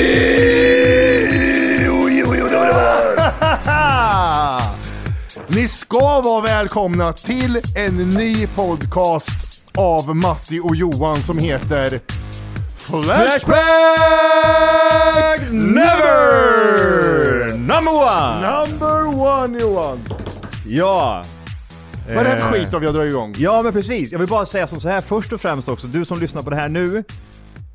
Ni ska vara välkomna till en ny podcast av Matti och Johan som heter Flashback Never! Number one! Number one Johan! Ja! Vad är det här för Eh. skit av jag drar igång? Ja men precis, jag vill bara säga som så här först och främst också, du som lyssnar på det här nu,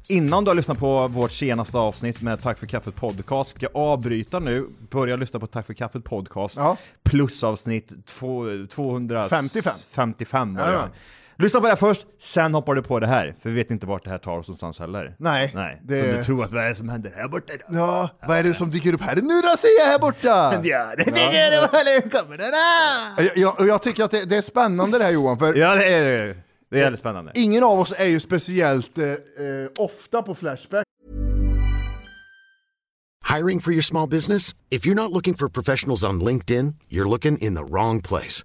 innan du har lyssnat på vårt senaste avsnitt med Tack för kaffet podcast, ska jag avbryta nu, börja lyssna på Tack för kaffet podcast, Ja. plus avsnitt två- 255. 55. 55 var det. Jajamän. Lyssna på det här först, sen hoppar du på det här, för vi vet inte vart det här tar oss någonstans heller. Nej, Nej. det- Så du tror att vad är det som händer här borta idag? Ja, vad är det som dyker upp här nu då ser jag här borta? Ja, det tycker jag det var, nu kommer den här! Jag, jag, jag tycker att det, det är spännande det här Johan, för Ja, det är det är väldigt spännande. ingen av oss är ju speciellt eh, eh, ofta på Flashback. Hiring for your small business? If you're not looking for professionals on LinkedIn, you're looking in the wrong place.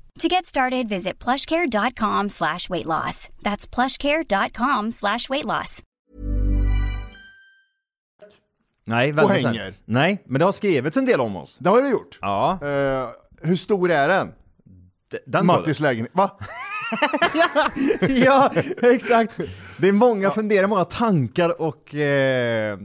To get started, visit plushcare.com slash weight loss. That's plushcare.com slash weight loss. Nej, väldigt hänger. intressant. Nej, men det har skrivits en del om oss. Det har du gjort. Ja, Eh, hur stor är den? d- den tar Mattis lägenhet. Va? du. Ja, exakt. Det är många funderar, många tankar och eh,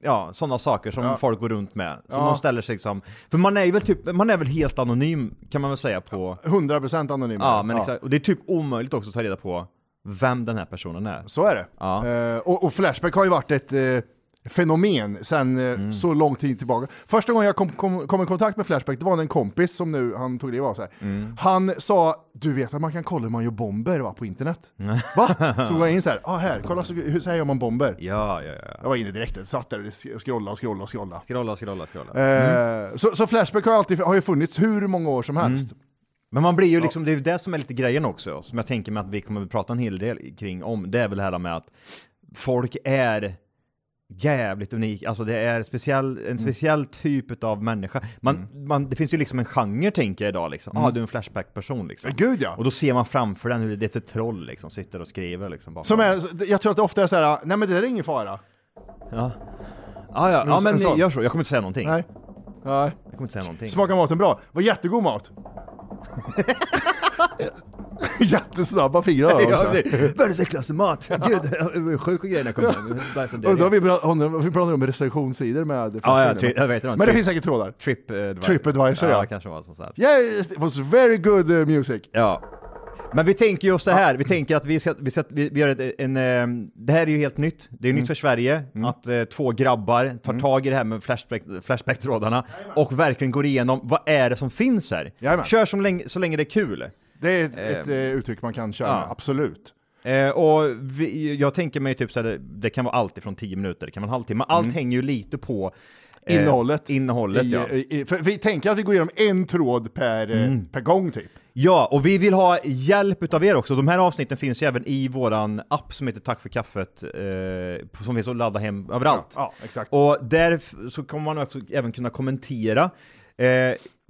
ja, sådana saker som folk går runt med. Som de ställer sig liksom. För man är väl typ, man är väl helt anonym kan man väl säga på. 100% anonym. Ja, men Exakt, och det är typ omöjligt också att ta reda på vem den här personen är. Så är det. Ja. Eh, och, och Flashback har ju varit ett eh, fenomen sedan eh, Mm. så lång tid tillbaka. Första gången jag kom, kom, kom i kontakt med Flashback, det var en kompis som nu, han tog det var så här. Mm. Han sa, du vet att man kan kolla hur man gör bomber va, på internet? Va? Så går jag in så här, ah, här, kolla så, hur, så här gör man bomber. Ja, ja, ja. Jag var inne direkt, jag satt där och sk- scrollade och scrollade och scrollade. Scrolla, scrolla, scrolla. Mm. Eh, så, så Flashback har, alltid, har ju funnits hur många år som helst. Men man blir ju liksom, det är ju det som är lite grejen också, som jag tänker mig att vi kommer att prata en hel del kring om, det är väl det här med att folk är jävligt unik, alltså det är speciell, Mm. en speciell typ av människa. Man, man, det finns ju liksom en genre tänker jag idag liksom, ah du är en Flashback-person liksom. Mm. Ja, gud, ja. Och då ser man framför den hur det är ett troll liksom, sitter och skriver liksom. Bakom. Som är, jag tror att det ofta är så här, nej men det där är ingen fara. ah, ja, ja en men sån. gör så, jag kommer inte säga någonting. Nej. Nej. Jag kommer inte säga någonting. Smakar maten bra? Var jättegod mat. Jättesnabba fingrar har jag Ja, också. precis. Världens äckligaste mat! Gud, jag var sjuk och grejer när jag kom hem. Undrar om vi pra- undrar om vi pratar om recensionssidor med... Ja, ja, tri- jag vet inte. Men det finns säkert trådar. TripAdvisor. TripAdvisor, ja. eh, kanske var sånt där. Yes, it was very good uh, music. Ja. Men vi tänker just det här, vi tänker att vi ska, vi ska vi, vi gör ett, en, ehm, det här är ju helt nytt, det är Mm. nytt för Sverige, att eh, två grabbar tar tag i det här med flashback, flashback-trådarna och verkligen går igenom, vad är det som finns här? Jajamän. Kör som länge, så länge det är kul. Det är ett, ett eh, uttryck man kan köra, ja. absolut. Eh, och vi, jag tänker mig typ så här, det kan vara allt ifrån 10 minuter, det kan vara en halvtimme, allt hänger ju lite på eh, Mm. Innehållet. innehållet I, eh, ja. i, i, för vi tänker att vi går igenom en tråd per, eh, per gång typ. Ja, och vi vill ha hjälp utav er också. De här avsnitten finns ju även i våran app som heter Tack för kaffet, eh, som finns att ladda hem överallt. Ja, ja, exakt. Och där f- så kommer man också även kunna kommentera. Eh,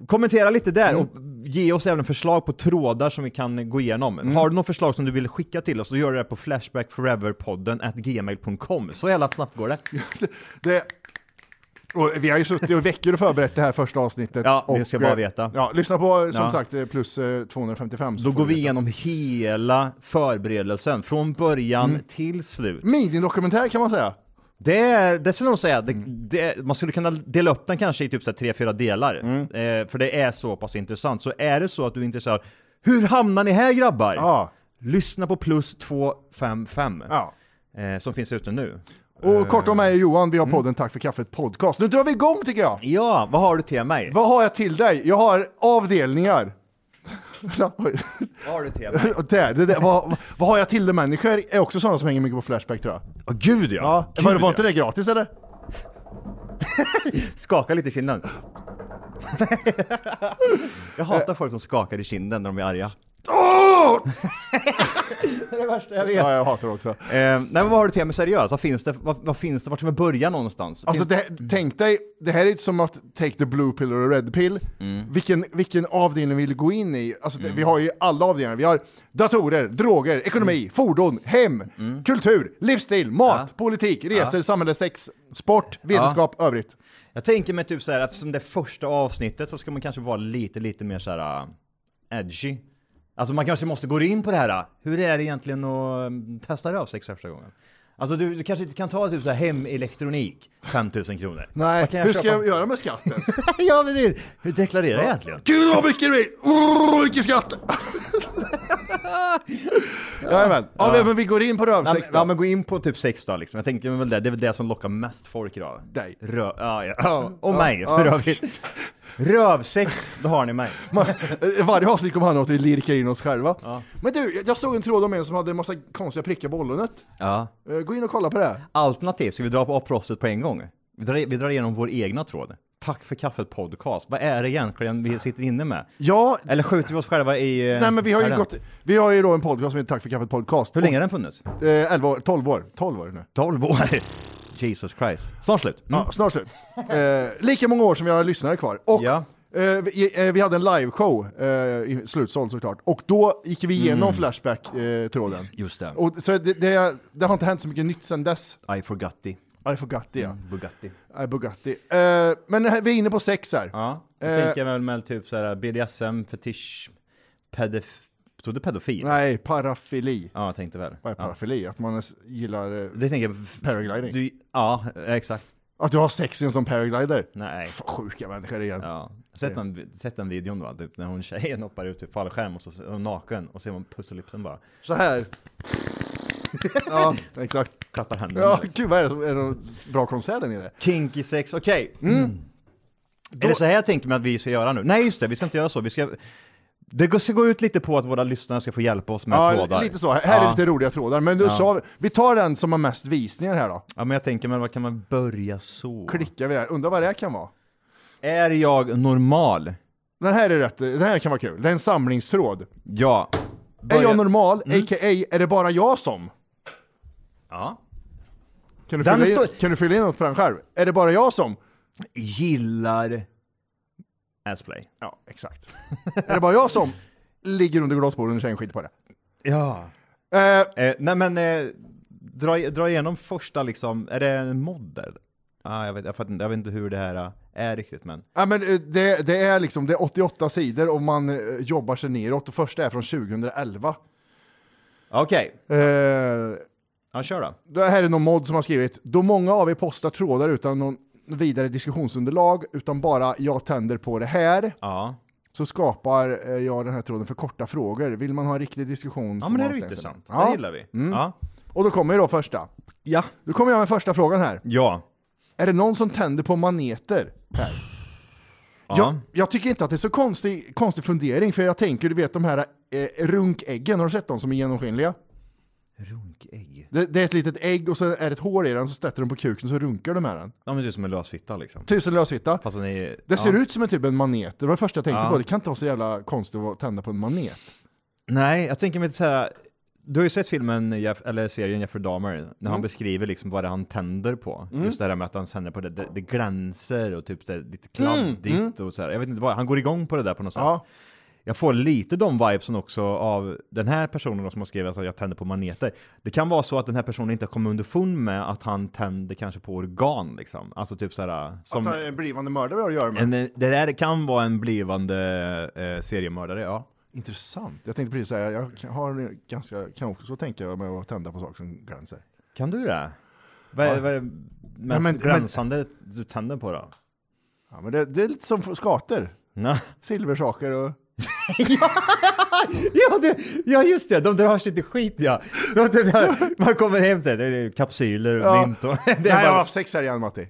Kommentera lite där Mm. och ge oss även förslag på trådar som vi kan gå igenom. Mm. Har du något förslag som du vill skicka till oss, då gör du det på flashbackforeverpodden at gmail.com. Så jävla snabbt går det. Det, och vi har ju suttit i veckor och förberett det här första avsnittet. Ja, vi och, ska bara eh, veta. Ja, lyssna på som Ja. sagt eh, plus eh, 255. så Då får går du vi veta. igenom hela förberedelsen, från början Mm. till slut. Minidokumentär kan man säga. Det, är- det skulle jag nog säga, det, det, man skulle kunna dela upp den kanske i typ så här tre, fyra delar. Eh, för det är så pass intressant. Så är det så att du är intresserad, hur hamnar ni här grabbar? Ja. Lyssna på plus 255, ja. eh, som finns ute nu. Eh. Och kort om mig och Johan, Mm. vi har podden Tack för kaffet podcast. Nu drar vi igång tycker jag! Ja, vad har du till mig? Vad har jag till dig? Jag har avdelningar. Så, oj. Vad har du till mig? Och där, det där, vad, vad har jag till dig människor? Är också sådana som hänger mycket på Flashback tror jag. Åh gud ja! Ja, gud, var, var inte det gratis eller? Skaka lite i kinden. jag hatar folk som skakar i kinden när de är arga. det är det värsta jag vet. Ja, jag hatar det också. Eh, nej men vad har du till mig seriöst? Vad finns det? Vad, vad finns det? Vart ska vi börja någonstans? Alltså finns... det, tänk dig, det här är inte som att take the blue pill och the red pill. Vilken, vilken avdelning vill du gå in i? Alltså det, vi har ju alla avdelningar. Vi har datorer, droger, ekonomi, fordon, hem, kultur, livsstil, mat, politik, resor, samhälle, sex, sport, vetenskap, övrigt. Jag tänker mig typ så här, eftersom det är första avsnittet så ska man kanske vara lite, lite mer så här äh, edgy. Alltså man kanske måste gå in på det här. äh, Hur är det egentligen att mm, testa rövsex första gången? Alltså du, du kanske inte kan ta typ så här hemelektronik, 5000 kronor. Nej, Vad kan jag hur ska köpa? jag göra med skatten? ja, men det, hur deklarerar jag egentligen? Gud vad mycket det blir! Brrr, Mycket skatt! Jajamän. Ja, men vi går in på Ja, rövsex men, ja, men gå in på typ sex då liksom. Jag tänker väl det, det är väl det som lockar mest folk idag. Dig. Rö- ja, ja. ja, Och mig för övrigt. Rövsex, då har ni mig. Man, eh, varje avsnitt kommer handla om att vi lirkar in oss själva. Men du, jag- jag såg en tråd om en som hade en massa konstiga prickar på ollonet. Ja. Eh, Gå in och kolla på det. Alternativt, ska vi dra på proffset på en gång? Vi drar, vi drar igenom vår egna tråd. Tack för kaffet podcast. Vad är det egentligen vi sitter inne med? Ja, Eller skjuter vi oss själva i... eh, Eh, nej men vi har ju här gått, vi har ju då en podcast som heter Tack för kaffet podcast. Hur länge har den funnits? Och, eh, 11 år, 12 år, 12 år nu. 12 år. Jesus Christ. Snart slut. Mm. Ja, snart slut. Eh, lika många år som vi har lyssnare kvar. Och Ja. eh, vi, eh, vi hade en liveshow, eh, i- slutsåld såklart. Och då gick vi igenom Mm. Flashback-tråden. Just det. Och så det, det, det har inte hänt så mycket nytt sedan dess. I forgotti. I forgot det, ja. Bugatti. I Bugatti. Eh, men här- vi är inne på sex här. Mm. Ja, då Eh. tänker jag väl med typ såhär BDSM, fetisch, pedof... Stod det pedofil? Nej, parafili. Ja, jag tänkte väl. Vad är parafili? Att man s- gillar... eh, Det tänker jag... Paragliding. Du, ja, exakt. Att du har sex i en sån paraglider? Nej. Fan, sjuka människor igen. Ja. Alltså, Sett den, sett den videon då, typ när hon tjejen hoppar ut ur fallskärm och så är hon naken och ser man pusselipsen bara. Så här. ja, exakt. Klappar händerna. Ja, liksom. gud vad är det? som- Är det någon bra konsert där nere? Kinky sex, okej. Mm. Mm. Är det så här jag tänker mig att vi ska göra nu? Nej just det, vi ska inte göra så. Vi ska... Det går- ska gå ut lite på att våra lyssnare ska få hjälpa oss med Ja, trådar. lite så. Här är Ja. lite roliga trådar. Men du sa, vi tar den som har mest visningar här då. Ja men jag tänker, men vad kan man börja så? Klickar vi där. Undrar vad det här kan vara. Är jag normal? Den här är rätt, den här kan vara kul. Det är en samlingstråd. Ja. Är Börja- Mm. jag normal, a.k.a. är det bara jag som? Ja. Kan du, Den fylla in, står- kan du fylla in något på den själv? Är det bara jag som? Gillar... Assplay. Ja, exakt. är det bara jag som ligger under glasborden och tjejen skiter på det? Ja. Eh, Eh, nej men, eh, dra, dra igenom första liksom, är det en modder? Ah, jag, vet, jag, fattar inte, jag vet inte hur det här eh, är riktigt men. ja, men eh, det, det är liksom, det är 88 sidor och man eh, jobbar sig neråt. Och första är från 2011. Okej, Eh, ja, kör då. Det här är någon mod som har skrivit, då många av er postar trådar utan någon vidare diskussionsunderlag, utan bara jag tänder på det här, Ja. så skapar eh, jag den här tråden för korta frågor. Vill man ha en riktig diskussion? ja, får men det här man är ju stänga sig. intressant. Det Ja. gillar vi. Ja. Mm. Och då kommer ju då första. ja. Då kommer jag med första frågan här. Ja. Är det någon som tänder på maneter? Här. Jag, jag tycker inte att det är så konstig, konstig fundering, för jag tänker, du vet de här eh, runkäggen, har du sett dem som är genomskinliga? Runkägg. Det, det är ett litet ägg och så är det ett hål i den, så sätter de på kuken och så runkar de med den. Ja men det är som en lösfitta liksom. Tusen löshitta. Fast hon är... Det ser ja. ut som en typ en manet, det var det första jag tänkte Ja. på. Det kan inte vara så jävla konstigt att tända på en manet. Nej, jag tänker mig inte såhär, Du har ju sett filmen, Jeff, eller serien Jeffrey Dahmer, när han beskriver liksom vad det är han tänder på. Just det här med att han tänder på det, det, det glänser och typ det är lite kladdigt och så här. Jag vet inte vad, han går igång på det där på något sätt. Ja. Jag får lite de vibesen också av den här personen då som har skrivit att jag tänder på maneter. Det kan vara så att den här personen inte har kommit underfund med att han tänder kanske på organ liksom. Alltså typ så här, som Att han är en blivande mördare har att göra med. en, det där kan vara en blivande eh, seriemördare, ja. Intressant. Jag tänkte precis säga, jag kan- har en ganska, kan också tänka mig att tända på saker som gränser. Kan du det? Vad är, vad är mest men- glänsande du tänder på då? Ja, men det, det är lite som skater. Nej. Silversaker och... Ja, det, ja, just det, de drar sig till skit ja. De, de, de, man kommer hem till det, är kapsyler och Ja. mynt och... Det är Nej, jag har bara, haft sex här igen Matti.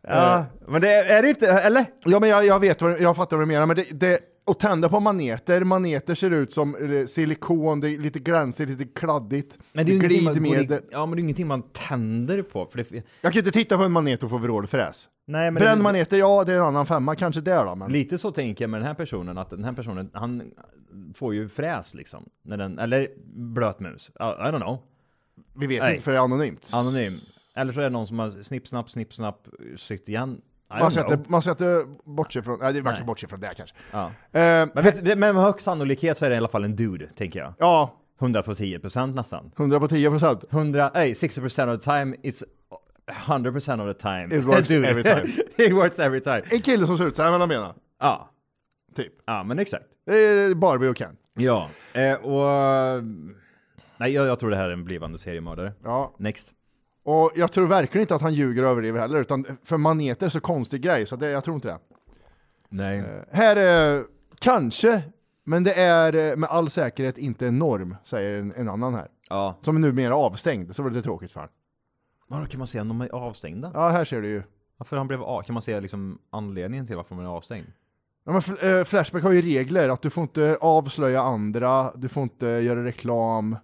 ja. Men det är, är det inte, eller? Ja, men jag, jag vet vad, jag fattar vad du menar, men det, det, att tända på maneter, maneter ser ut som eh, silikon, det är lite glansigt, lite kladdigt. Men det är ju ingenting man, går glidmedel. i, ja, men det är ingenting man tänder på. För det, Jag kan inte titta på en manet och få vrålfräs. nej, men Bränn det, maneter, ja det är en annan femma, kanske där då. Men... Lite så tänker jag med den här personen, att den här personen, han får ju fräs liksom. När den, eller blötmus. I, I don't know. Vi vet Nej. inte för det är anonymt. Anonym. Eller så är det någon som har snipp, snapp, snipp, snapp, sitt igen. I Man don't ska, inte, know. man ska inte bortse från, nej, det- man kan bortse från det kanske. Ja. Eh, Men, vet, men med hög sannolikhet så är det i alla fall en dude, tänker jag. ja, 100 på 10 procent nästan. 100 på 10 procent. 100, nej, 60 procent of the time, it's 100 procent of the time. It works A every time. It works every time. En kille som ser ut så här, vad han menar. Ja, Typ. ja men exakt. Det är Barbie och Ken. Ja, eh, och... Nej, jag, jag tror det här är en blivande seriemördare. Ja, Next. och jag tror verkligen inte att han ljuger och överdriver heller, utan för maneter är så konstig grej, så det, jag tror inte det. Nej. Här är kanske, men det är eh, med all säkerhet inte en norm, säger en, en annan här. Ja. Som är numera avstängd, så var det lite tråkigt för han. Vadå, kan man se om de är avstängda? Ja, här ser du ju. Varför han blev av? Kan man se liksom anledningen till varför man är avstängd? Ja, men fl- eh, Flashback har ju regler, att du får inte avslöja andra, du får inte göra reklam.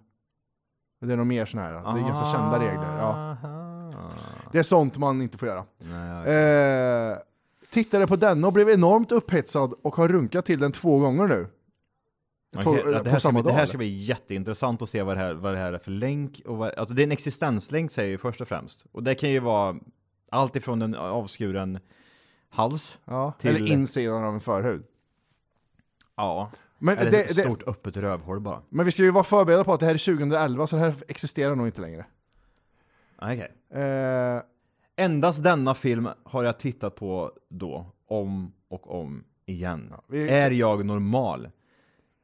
Det är nog mer sådana här, det är ganska Ah. kända regler. Ja. Aha. Det är sånt man inte får göra. Nej, Eh, tittade på den och blev enormt upphetsad och har runkat till den två gånger nu. Man Två- kan- eh, ja, det, på här ska samma bli, det dag, här eller? ska bli jätteintressant att se vad det här, vad det här är för länk. Och vad, alltså det är en existenslänk säger ju först och främst. Och det kan ju vara allt ifrån en avskuren hals. Ja, Till- Eller insidan av en förhud. Ja. Men, Eller det, ett det, stort öppet rövhål bara. men vi ska ju vara förberedda på att det här är 2011, så det här existerar nog inte längre. Okej. Eh, Endast denna film har jag tittat på då, om och om igen. vi- Är jag normal?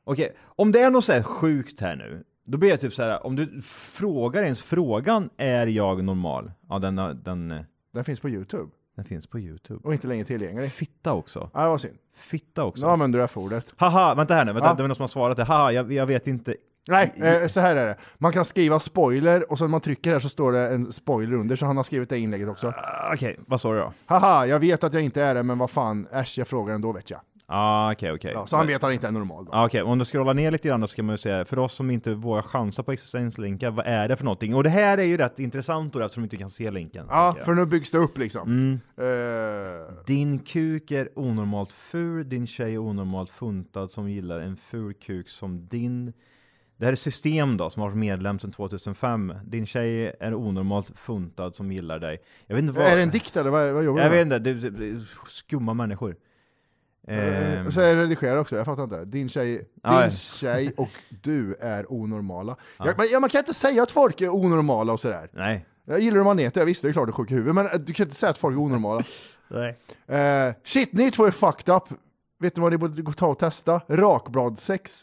Okej, om det är något så här sjukt här nu, då blir jag typ så här, om du frågar ens frågan, är jag normal? Ja, den, har- den, eh, den finns på YouTube den finns på YouTube. och inte längre tillgänglig. Fitta också. Ja, det var synd. Fitta också. Nu använder du F-ordet. Haha, vänta här nu, vänta, Ja. det var någon som har svarat det. Haha, jag, jag vet inte. Nej, eh, så här är det. Man kan skriva spoiler och sen när man trycker här så står det en spoiler under, så han har skrivit det inlägget också. Ah, Okej, vad sa du då? Haha, jag vet att jag inte är det, men vad fan, äsch, jag frågar ändå vet jag. Ah, Okej, okej. Ja, så han vet att han inte är normal då. Ja, Okej, om du scrollar ner lite grann då ska man ju säga, för oss som inte vågar chansa på existenslänkar, vad är det för någonting? Och det här är ju rätt intressant då eftersom vi inte kan se länken. Ja, tänker jag. för nu byggs det upp liksom. Mm. Eh, Din kuk är onormalt ful, din tjej är onormalt funtad som gillar en ful kuk som din. Det här är System då, som har varit medlem sedan 2005. Din tjej är onormalt funtad som gillar dig. Jag vet inte vad... är det en dikt eller vad, vad jobbar Jag du vet med? inte, det, det, det är typ skumma människor. Ehm, Eh, Så är det redigerad också, jag fattar inte. Din tjej, din Ja. tjej och du är onormala. Jag, men, ja, man kan inte säga att folk är onormala och sådär. nej. Jag gillar hur man heter, jag visste det är klart du är sjuk i huvudet, men eh, du kan inte säga att folk är onormala. nej. Eh, shit, ni två är fucked up. Vet ni vad ni borde gå- ta och testa? Rakbladsex.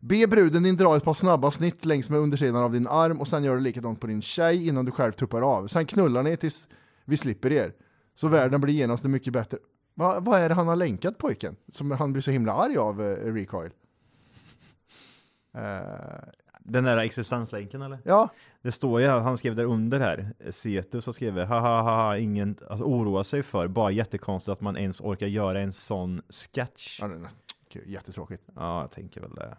Be bruden din dra ett par snabba snitt längs med undersidan av din arm och sen gör du likadant på din tjej innan du själv tuppar av. Sen knullar ni tills vi slipper er. Så världen blir genast en mycket bättre. Va, vad är det han har länkat pojken? Som han blir så himla arg av, eh, Recoil. Eh, Den där existenslänken eller? ja, Det står ju, här, han skrev där under här, Cetus har skrivit haha, haha, ingen alltså, oroa sig för, bara jättekonstigt att man ens orkar göra en sån sketch. Ja, den är- kul, jättetråkigt. Ja, jag tänker väl det.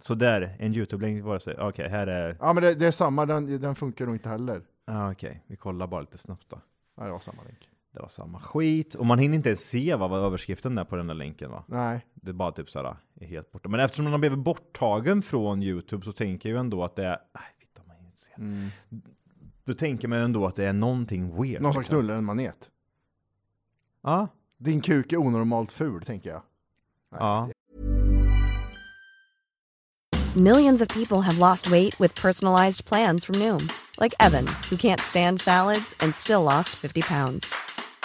Så där, en YouTube-länk var det så. Okej, här är, Ja, men det, det är samma, den, den funkar nog inte heller. ah, okej, vi kollar bara lite snabbt då. Ja, det var samma länk. Det var samma skit. Och man hinner inte ens se vad, vad överskriften är på den där länken va? Nej. Det är bara typ såhär, är helt borta. Men eftersom den har blivit borttagen från Youtube så tänker jag ju ändå att det är... Nej, vitt om man inte ser. Mm. Då tänker man ju ändå att det är någonting weird. Någon som liksom. knullar en manet. Ja. Din kuk är onormalt ful, tänker jag. Nej, Ja. Millions of people have lost weight with personalized plans from Noom, like Evan, who can't stand salads and still lost 50 pounds.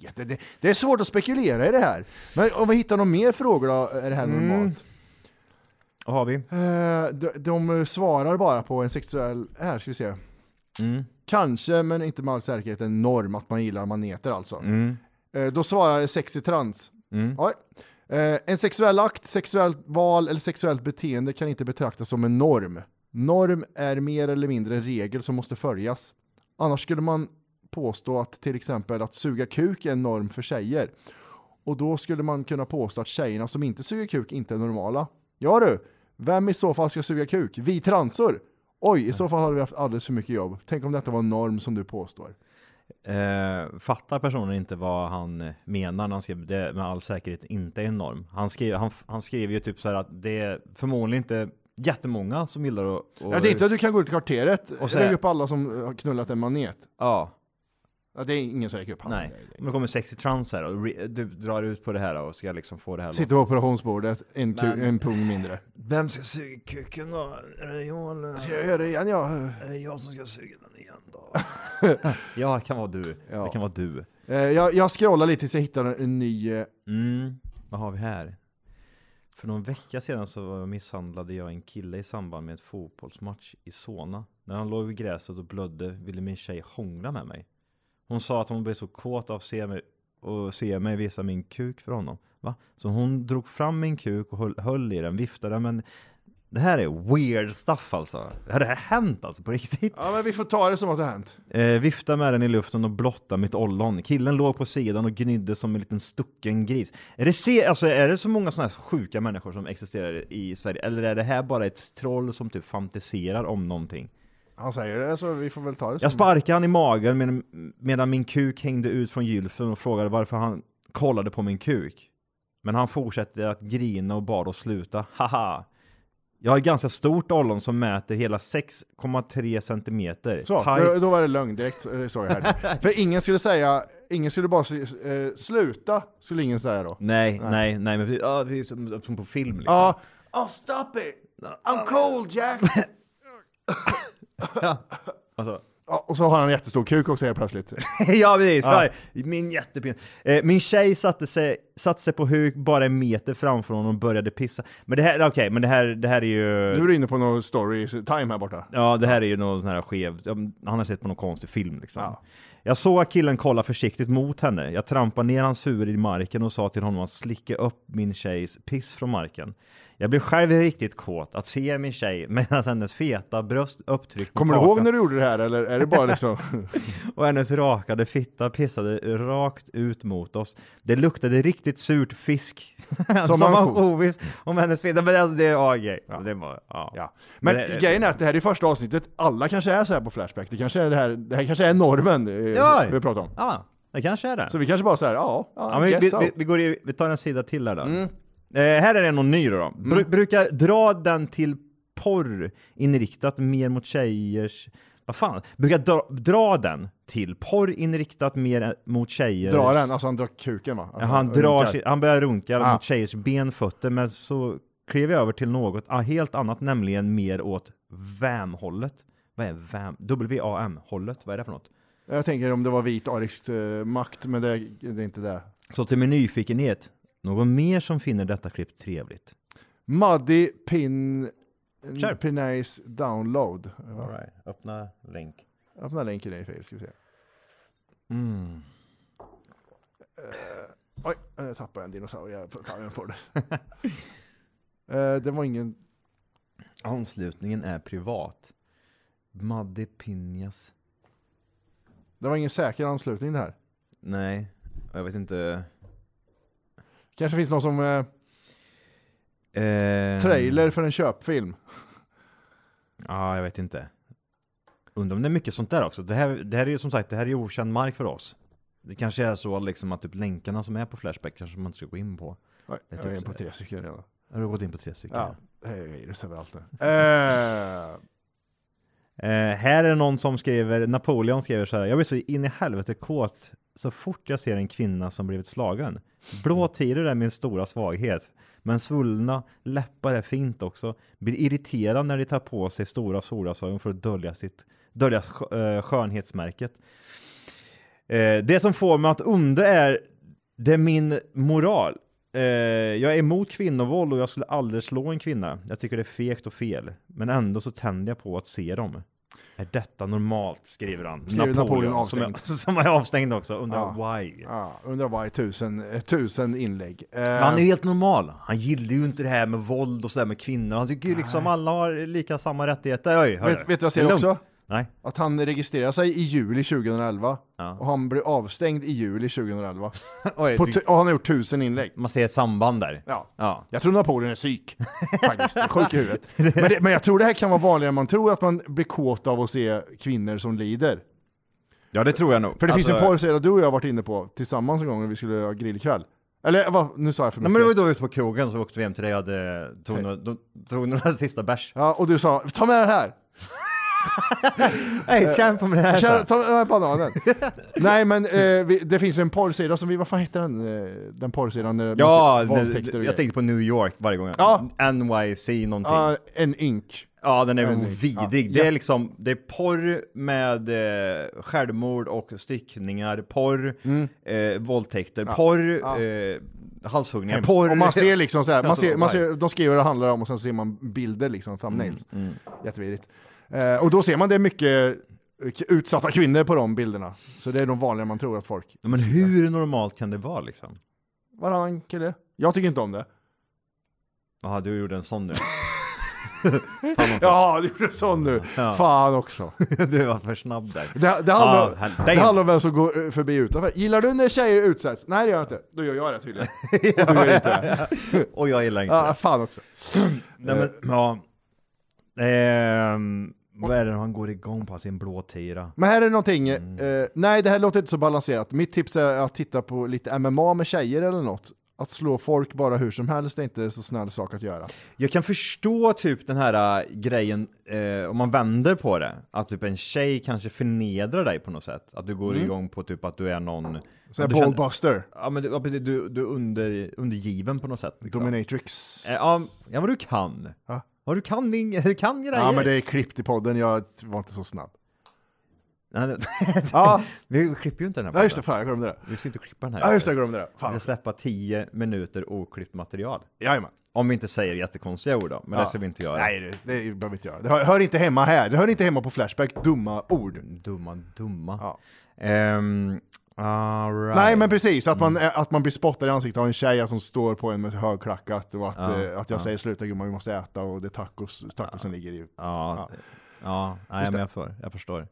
Jag vet, det- det, det är svårt att spekulera i det här. Men om vi hittar några mer frågor då, är det här normalt? Vad har vi? Eh, de, de svarar bara på en sexuell... Här ska vi se. Kanske, men inte med all säkerhet, en norm att man gillar maneter alltså. Eh, då svarar sexy trans. Oj. Eh, en sexuell akt, sexuellt val eller sexuellt beteende kan inte betraktas som en norm. Norm är mer eller mindre en regel som måste följas. Annars skulle man påstå att till exempel att suga kuk är en norm för tjejer. Och då skulle man kunna påstå att tjejerna som inte suger kuk inte är normala. Ja du, vem i så fall ska suga kuk? Vi transor! Oj, i så fall hade vi haft alldeles för mycket jobb. Tänk om detta var en norm som du påstår. Eh, fattar personen inte vad han menar när han skriver det med all säkerhet inte är en norm? Han skriver, han, han skriver ju typ så här att det är förmodligen inte jättemånga som gillar att... att- Ja, det är inte att du kan gå ut i kvarteret Och och så här- lägga upp alla som har knullat en manet. Ja, Ja, det är ingen som räcker upp handen. nej. Om det kommer sexy trans här och re, du drar ut på det här och ska liksom få det här... Sitter på operationsbordet, en, ku- Men- en pung mindre. Vem ska suga kuken då? Är det jag eller? Ska jag göra det igen? Ja. Är det jag som ska suga den igen då? ja, det kan vara du. Ja. Det kan vara du. Eh, Jag, jag scrollar lite tills jag hittar en- en ny... eh, Mm, vad har vi här? För någon vecka sedan så misshandlade jag en kille i samband med en fotbollsmatch i Solna. När han låg i gräset och blödde ville min tjej hångla med mig. Hon sa att hon blev så kåt av att se mig och se mig visa min kuk för honom. Va? Så hon drog fram min kuk och höll, höll i den, viftade men det här är weird stuff alltså. Det här har hänt alltså på riktigt. Ja, men vi får ta det som att det har hänt. Eh, vifta med den i luften och blotta mitt ollon. Killen låg på sidan och gnydde som en liten stucken gris. Är det, se, alltså, är det så många sådana här sjuka människor som existerar i Sverige? Eller är det här bara ett troll som typ fantiserar om någonting? Han säger det, så vi får väl ta det Jag som... sparkade han i magen medan, medan min kuk hängde ut från gylfen och frågade varför han kollade på min kuk. Men han fortsatte att grina och bad oss sluta. Haha! Jag har ett ganska stort ollon som mäter hela 6,3 centimeter. Så, Tajt- då, då var det lögn direkt, eh, såg jag här. För ingen skulle säga, ingen skulle bara se- eh, sluta, skulle ingen säga då. Nej, nej, nej, men precis. ja, det är som, som på film liksom. Ja. Oh, stop it! I'm cold Jack! Alltså. ja, och så har han en jättestor kuk också helt plötsligt. ja, precis. Ja. Min jättepin. Eh, min tjej satte sig, satte sig på huk bara en meter framför honom och började pissa. Men det här, okej, men det här, det här är ju... Nu är du inne på någon story time här borta. Ja, det här är ju någon sån här skev, ja, men han har sett på någon konstig film liksom. Jag såg att killen kolla försiktigt mot henne. Jag trampade ner hans huvud i marken och sa till honom att slicka upp min tjejs piss från marken. Jag blev själv riktigt kåt att se min tjej medan hennes feta bröst upptryckt mot Kommer du ihåg taket när du gjorde det här eller är det bara liksom? och hennes rakade fitta pissade rakt ut mot oss. Det luktade riktigt surt fisk. Som Som, man man får. ovis om hennes fitta. Men alltså, det är ja, grej. Det var, ja. ja. Men det- grejen är att det här är första avsnittet, alla kanske är så här på Flashback. Det kanske är det här, det här kanske är normen eh, Ja. vi pratar om. Ja, det kanske är det. Så vi kanske bara säger ja, ja, Ja, men vi, guess Mm. vi, so. vi, vi, går i, vi tar en sida till här då. Eh, här är det någon ny då. då. Bru, Mm. Brukar dra den till porr inriktat mer mot tjejers... Vad fan? Brukar dra, dra den till porr inriktat mer ä- mot tjejers... Drar den, alltså han drar kuken va? Att Ja, han, drar runkar. sin, han börjar runka Ah. mot tjejers ben, fötter, men så klev jag över till något ah, helt annat, nämligen mer åt VAM-hållet. Vad är VAM? W-A-M-hållet, vad är det för något? Jag tänker om det var vit arisk eh, makt, men det, det är inte det. Så till min nyfikenhet, någon mer som finner detta klipp trevligt? Muddy Pin... Kör. Pinace Download. All right, öppna länk. Öppna länken i fil, ska vi se. Mm. Eh, oj, jag tappade en dinosaurie här på tarmen på det. Eh, det var ingen... Anslutningen är privat. Madde Pinjas. Det var ingen säker anslutning det här. Nej, jag vet inte. Kanske finns någon som eh, Eh, trailer för en köpfilm. Ja, jag vet inte. Undrar om det är mycket sånt där också. Det här, det här är ju som sagt, det här är ju okänd mark för oss. Det kanske är så liksom att typ länkarna som är på Flashback kanske man inte ska gå in på. Oj, jag är in på tre stycken redan. Har du gått in på tre stycken? Ja, det är virus överallt nu. Eh, Eh, här är någon som skriver, Napoleon skriver så här. Jag blir så in i helvete kåt så fort jag ser en kvinna som blivit slagen. Blå tider är min stora svaghet. Men svullna läppar är fint också. Blir irriterad när de tar på sig stora solglasögon för att dölja, sitt, dölja skö- eh, skönhetsmärket. Eh, det som får mig att undra är, det är min moral. Eh, jag är emot kvinnovåld och jag skulle aldrig slå en kvinna. Jag tycker det är fegt och fel. Men ändå så tänder jag på att se dem. Är detta normalt? Skriver han. Skriver Napoleon som, är, avstängd. som är avstängd också. Undrar why. ja, undrar vad är tusen, eh, tusen inlägg. Eh, Men han är ju helt normal. Han gillar ju inte det här med våld och sådär med kvinnor. Han tycker ju liksom alla har lika samma rättigheter. Oj, hör Vet- du. vet du vad jag ser Det är lugnt. också? Nej. Att han registrerade sig i juli 2011 Ja. och han blev avstängd i juli 2011. Oj, På du- tu- och han har gjort tusen inlägg. man ser ett samband där. Ja. Ja. Jag tror Napoleon är psyk, faktiskt. Han är Sjuk i huvudet. Men, det, men jag tror det här kan vara vanligare än man tror, att man blir kåt av att se kvinnor som lider. Ja, det tror jag nog. För det finns en Alltså, porrserie du och jag har varit inne på tillsammans en gång när vi skulle ha grillkväll. Eller vad, nu sa jag för Nej, mycket. men det var ju då vi var ute på krogen så åkte vi hem till dig och hade, tog, några, de, tog några sista bärs. Ja, och du sa, ta med den här! Nej, känn på mig det här. Kära, ta med bananen. Nej men eh, vi, det finns en porrsida som vi, vad fan heter den? eh, Den porrsidan när det Ja, är massa nu, våldtäkter och jag grejer. tänkte på New York varje gång. Ja. NYC någonting. Ja, en ynk. ja, den är en- vidrig. ja. Det Ja. är liksom, det är porr med eh, självmord och styckningar, porr, eh, våldtäkter, porr, Eh, halshuggningar, porr. Och man ser liksom så här, man Alltså, ser, man why? ser, de skriver vad det handlar om och sen ser man bilder liksom, thumbnails. Jättevidrigt. Eh, och då ser man det är mycket eh, utsatta kvinnor på de bilderna. Så det är de vanliga man tror att folk, Men hur normalt kan det vara liksom? varannan kille. Jag tycker inte om det. Jaha, du gjorde en sån nu. Ja, du gjorde sån nu. Fan också. du var för snabb där. Det, det, handlar, om- Ah, hell- det damn. handlar om vem som går eh, förbi utanför. Gillar du när tjejer utsätts? Nej det gör jag inte. Då gör jag det tydligen. Och du gör inte det. Och jag gillar inte Ja, det. fan också. Nej, men, ja. Eh, Ehm, vad är det han går igång på? Sin blå tira. Men här är någonting, Mm. eh, nej det här låter inte så balanserat. Mitt tips är att titta på lite MMA med tjejer eller något. Att slå folk bara hur som helst är inte så snäll sak att göra. Jag kan förstå typ den här äh, grejen, eh, om man vänder på det, att typ en tjej kanske förnedrar dig på något sätt. Att du går igång på typ att du är någon... Mm. Så här du känner- ballbuster, Ja men du, ja, precis, du, du är under, undergiven på något sätt. Liksom. dominatrix. Eh, ja, ja, vad du kan. Ja. Ja, du kan, din, du kan grejer. Ja men det är klippt i podden, jag var inte så snabb. Nej, det... Ja, Vi klipper ju inte den här ja just det, podden. fan jag glömde det. Vi ska inte klippa den här. Ja just det, jag glömde det. Vi ska Fan. släppa 10 minuter oklippt material. Jajamän. Om vi inte säger jättekonstiga ord då, men det ska vi inte göra. Nej det, det behöver vi inte göra. Det hör, hör inte hemma här, det hör inte hemma på Flashback, dumma ord. Dumma, dumma. Ja. Ehm, all right. Nej men precis, att Mm. man, att man blir spottad i ansiktet av en tjej, att hon står på en med högklackat och att, eh, att jag säger sluta gumman vi måste äta och det är tacos, tacosen ligger i. Ja, ja. nej, Just men det. jag, för, jag förstår.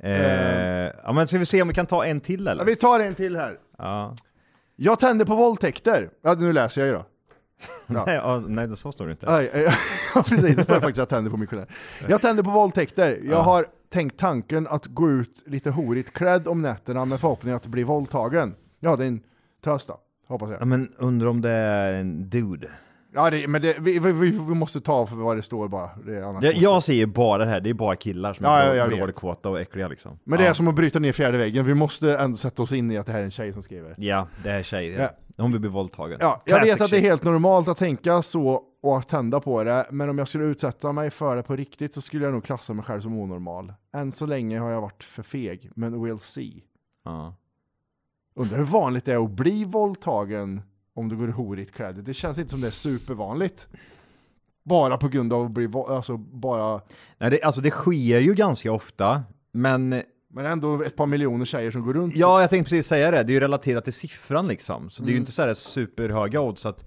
Ehm, ja, men ska vi se om vi kan ta en till eller? Ja, vi tar en till här. Ja. Jag tände på våldtäkter. Ja, nu läser jag ju då. Nej, ja, nej, det så står det inte. Aj, aj, ja, precis, det står faktiskt jag tände på missionär. Jag tände på våldtäkter. Jag har tänkt tanken att gå ut lite horigt klädd om nätterna med förhoppningen att bli våldtagen. Ja, det är en tös då, hoppas Ja, jag. men undrar om det är en dude. Ja, det, men det, vi, vi, vi vi måste ta för vad det står bara. Det är annars Jag, jag ser ju bara det här, det är bara killar som Ja, ja, är jag blå- vet. blåkåta och äckliga liksom. Men det ja. är som att bryta ner fjärde väggen, vi måste ändå sätta oss in i att det här är en tjej som skriver. Ja, det är tjejer. Ja. Hon vill bli våldtagen. Ja, jag vet Classic att det är shit. helt normalt att tänka så och att tända på det. Men om jag skulle utsätta mig för det på riktigt så skulle jag nog klassa mig själv som onormal. Än så länge har jag varit för feg, men we'll see. Ja. Undrar hur vanligt det är att bli våldtagen om du går i horigt klädd. Det känns inte som det är supervanligt. Bara på grund av att bli vå- alltså bara, Nej, det, alltså det sker ju ganska ofta, men men ändå ett par miljoner tjejer som går runt. ja, jag tänkte precis säga det. Det är ju relaterat till siffran liksom, så det är ju inte så här superhöga odds att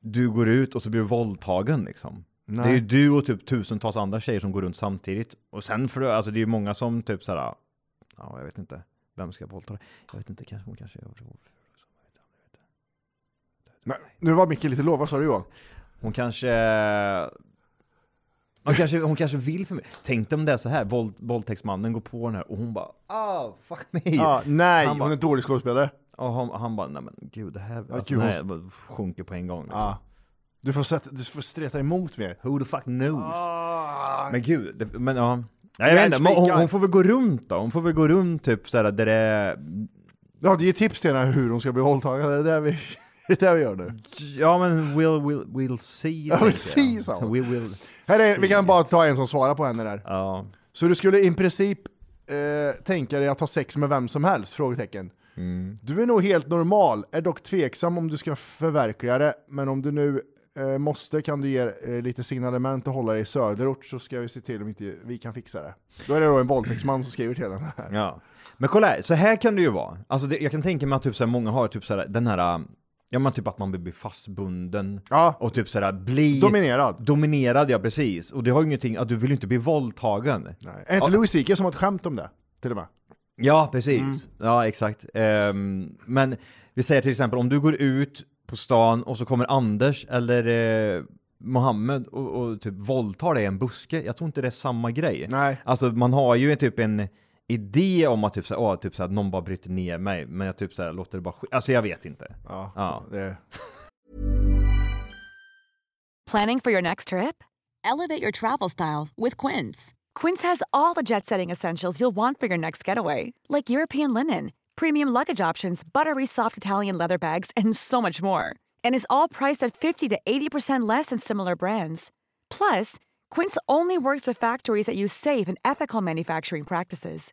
du går ut och så blir du våldtagen liksom. Det är ju du och typ tusentals andra tjejer som går runt samtidigt. Och sen för alltså det är ju många som typ så här, ja, jag vet inte, vem ska jag våldta? dig? Jag vet inte, kanske hon kanske är Men, nu var Micke lite låg, vad sa du Johan? Hon kanske... Hon kanske, hon kanske vill för mig. Tänk dig om det är så här, våld, våldtäktsmannen går på den här och hon bara ah, fuck me. Ja, nej, Han hon bara- är en dålig skådespelare. Och han, han bara, nej men gud det här, alltså, gud, nej, bara sjunker på en gång. Liksom. Ja. Du, får sätta, du får streta emot mer. Who the fuck knows? Ah, Men gud, det, men ja. Nej, jag Jag vet inte, men hon, spikar. hon får väl gå runt då? Hon får väl gå runt typ såhär där det är, Ja, det ger tips till henne hur hon ska bli våldtagen. Det är det vi, det är det vi gör nu. ja men we'll, we'll, we'll we'll see. tänker jag. see, sa hon. We will Här är, vi see. kan bara ta en som svarar på henne där. Ja, Så du skulle i princip eh, tänka dig att ha sex med vem som helst? Frågetecken. Du är nog helt normal, är dock tveksam om du ska förverkliga det, men om du nu eh, måste kan du ge eh, lite signalement och hålla dig i söderort så ska vi se till om inte vi kan fixa det. Då är det då en våldtäktsman som skriver till henne. Ja. Men kolla här, så här kan det ju vara. Alltså det, jag kan tänka mig att typ så här, många har typ så här, den här, ja men typ att man blir fastbunden. Ja. Och typ så här, bli... Dominerad. Dominerad, ja precis. Och det har ju ingenting, att du vill ju inte bli våldtagen. Nej. Är inte Louis CK som har ett skämt om det? Till och med. Ja, precis. Mm. Ja, exakt. Ehm, men vi säger till exempel om du går ut på stan och så kommer Anders eller eh, Mohammed och, och typ våldtar dig i en buske. Jag tror inte det är samma grej. Nej. Alltså man har ju typ en idé om att typ såhär, åh, typ såhär, någon bara bryter ner mig, men jag typ såhär låter det bara ske. Alltså jag vet inte. Ja. Ja. så Det, Planning for your next trip? Elevate your travel style with Quince. Quince has all the jet setting essentials you'll want for your next getaway, like European linen, premium luggage options, buttery soft Italian leather bags, and so much more. And is all priced at 50 to 80% less than similar brands. Plus, Quince only works with factories that use safe and ethical manufacturing practices.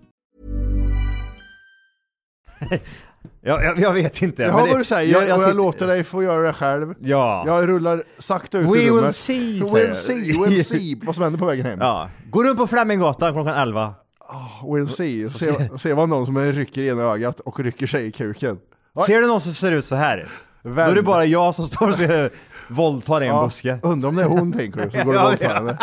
Jag, jag, jag vet inte. jag men hör det- vad du säger och jag sitter- låter dig få göra det själv. Ja. Jag rullar sakta ut We ur will rummet. see, säger We'll jag. see, we'll see vad som händer på vägen hem. ja. Gå runt på Fleminggatan klockan 11. We'll see. Se, se vad någon som rycker i ena ögat och rycker sig i kuken. Oj. Ser du någon som ser ut så här? Då är det Vänd. bara jag som står och ska våldta dig i en Ja, buske. Undrar om det är hon tänker du, som går och Ja, våldtar ja. henne.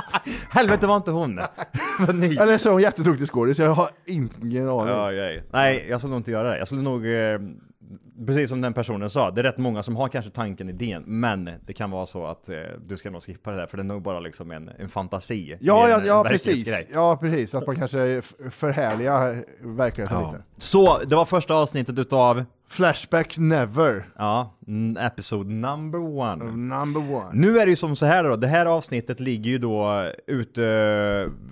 Helvete var inte hon. Vad ni. Eller så är hon jätteduktig skådis, jag har ingen aning. Ja, ja, ja. Nej, jag skulle nog inte göra det. Jag skulle nog, eh, precis som den personen sa, det är rätt många som har kanske tanken, idén, men det kan vara så att eh, du ska nog skippa det där, för det är nog bara liksom en, en fantasi. Ja, Det är ja, en ja, precis. verklighetsgrej. ja, precis. Att man kanske f- förhärligar verkligheten Ja. lite. Så, det var första avsnittet utav, Flashback never, ja, n- episode number one. number one. Nu är det ju som så här då, det här avsnittet ligger ju då ute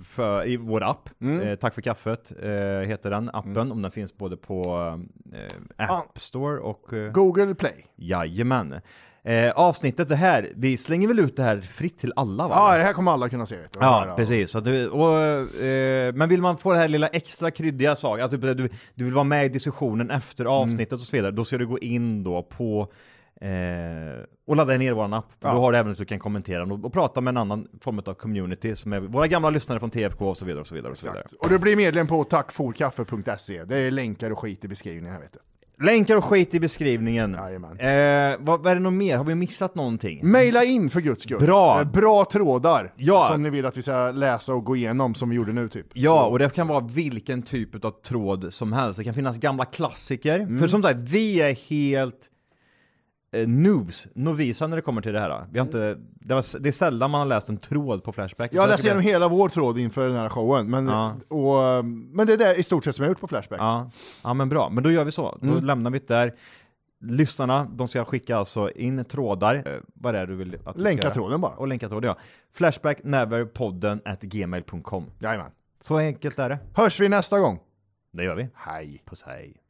för, i vår app. Eh, Tack för kaffet eh, heter den appen, om den finns både på eh, App Store och... Eh, Google Play. Jajamän. Eh, avsnittet det här, vi slänger väl ut det här fritt till alla va? Ja, det här kommer alla kunna se. Vet du. Ja, precis. Så att du, och, eh, men vill man få det här lilla extra kryddiga saker, alltså typ, du, du vill vara med i diskussionen efter avsnittet och så vidare, då ska du gå in då på eh, och ladda ner vår app. Då har du även att du kan kommentera den och, och prata med en annan form av community som är våra gamla lyssnare från TFK och så vidare och så vidare. Och så vidare. Och du blir medlem på tackforkaffe.se. Det är länkar och skit i beskrivningen här vet du. Länkar och skit i beskrivningen. Jajamän. Eh, vad, vad är det något mer? Har vi missat någonting? Maila in för guds skull. Bra. Eh, Bra trådar Ja. som ni vill att vi ska läsa och gå igenom som vi gjorde nu typ. Ja, och det kan vara vilken typ av tråd som helst. Det kan finnas gamla klassiker. För som sagt, vi är helt eh, noobs, novisa när det kommer till det här. Vi har inte, det, var, det är sällan man har läst en tråd på Flashback. Jag Så har det läst ska igenom bli- hela vår tråd inför den här showen, men, Ja. och, eh, men det är det i stort sett som jag har gjort på Flashback. Ja. ja, men bra. Men då gör vi så. Då lämnar vi det där. Lyssnarna, de ska skicka alltså in trådar. Eh, vad är det du vill att vi ska Länka göra? tråden bara. Och länka tråden, ja. Flashbackneverpodden at gmail.com. Jajamän. Så enkelt är det. Hörs vi nästa gång? Det gör vi. Hej. Puss hej.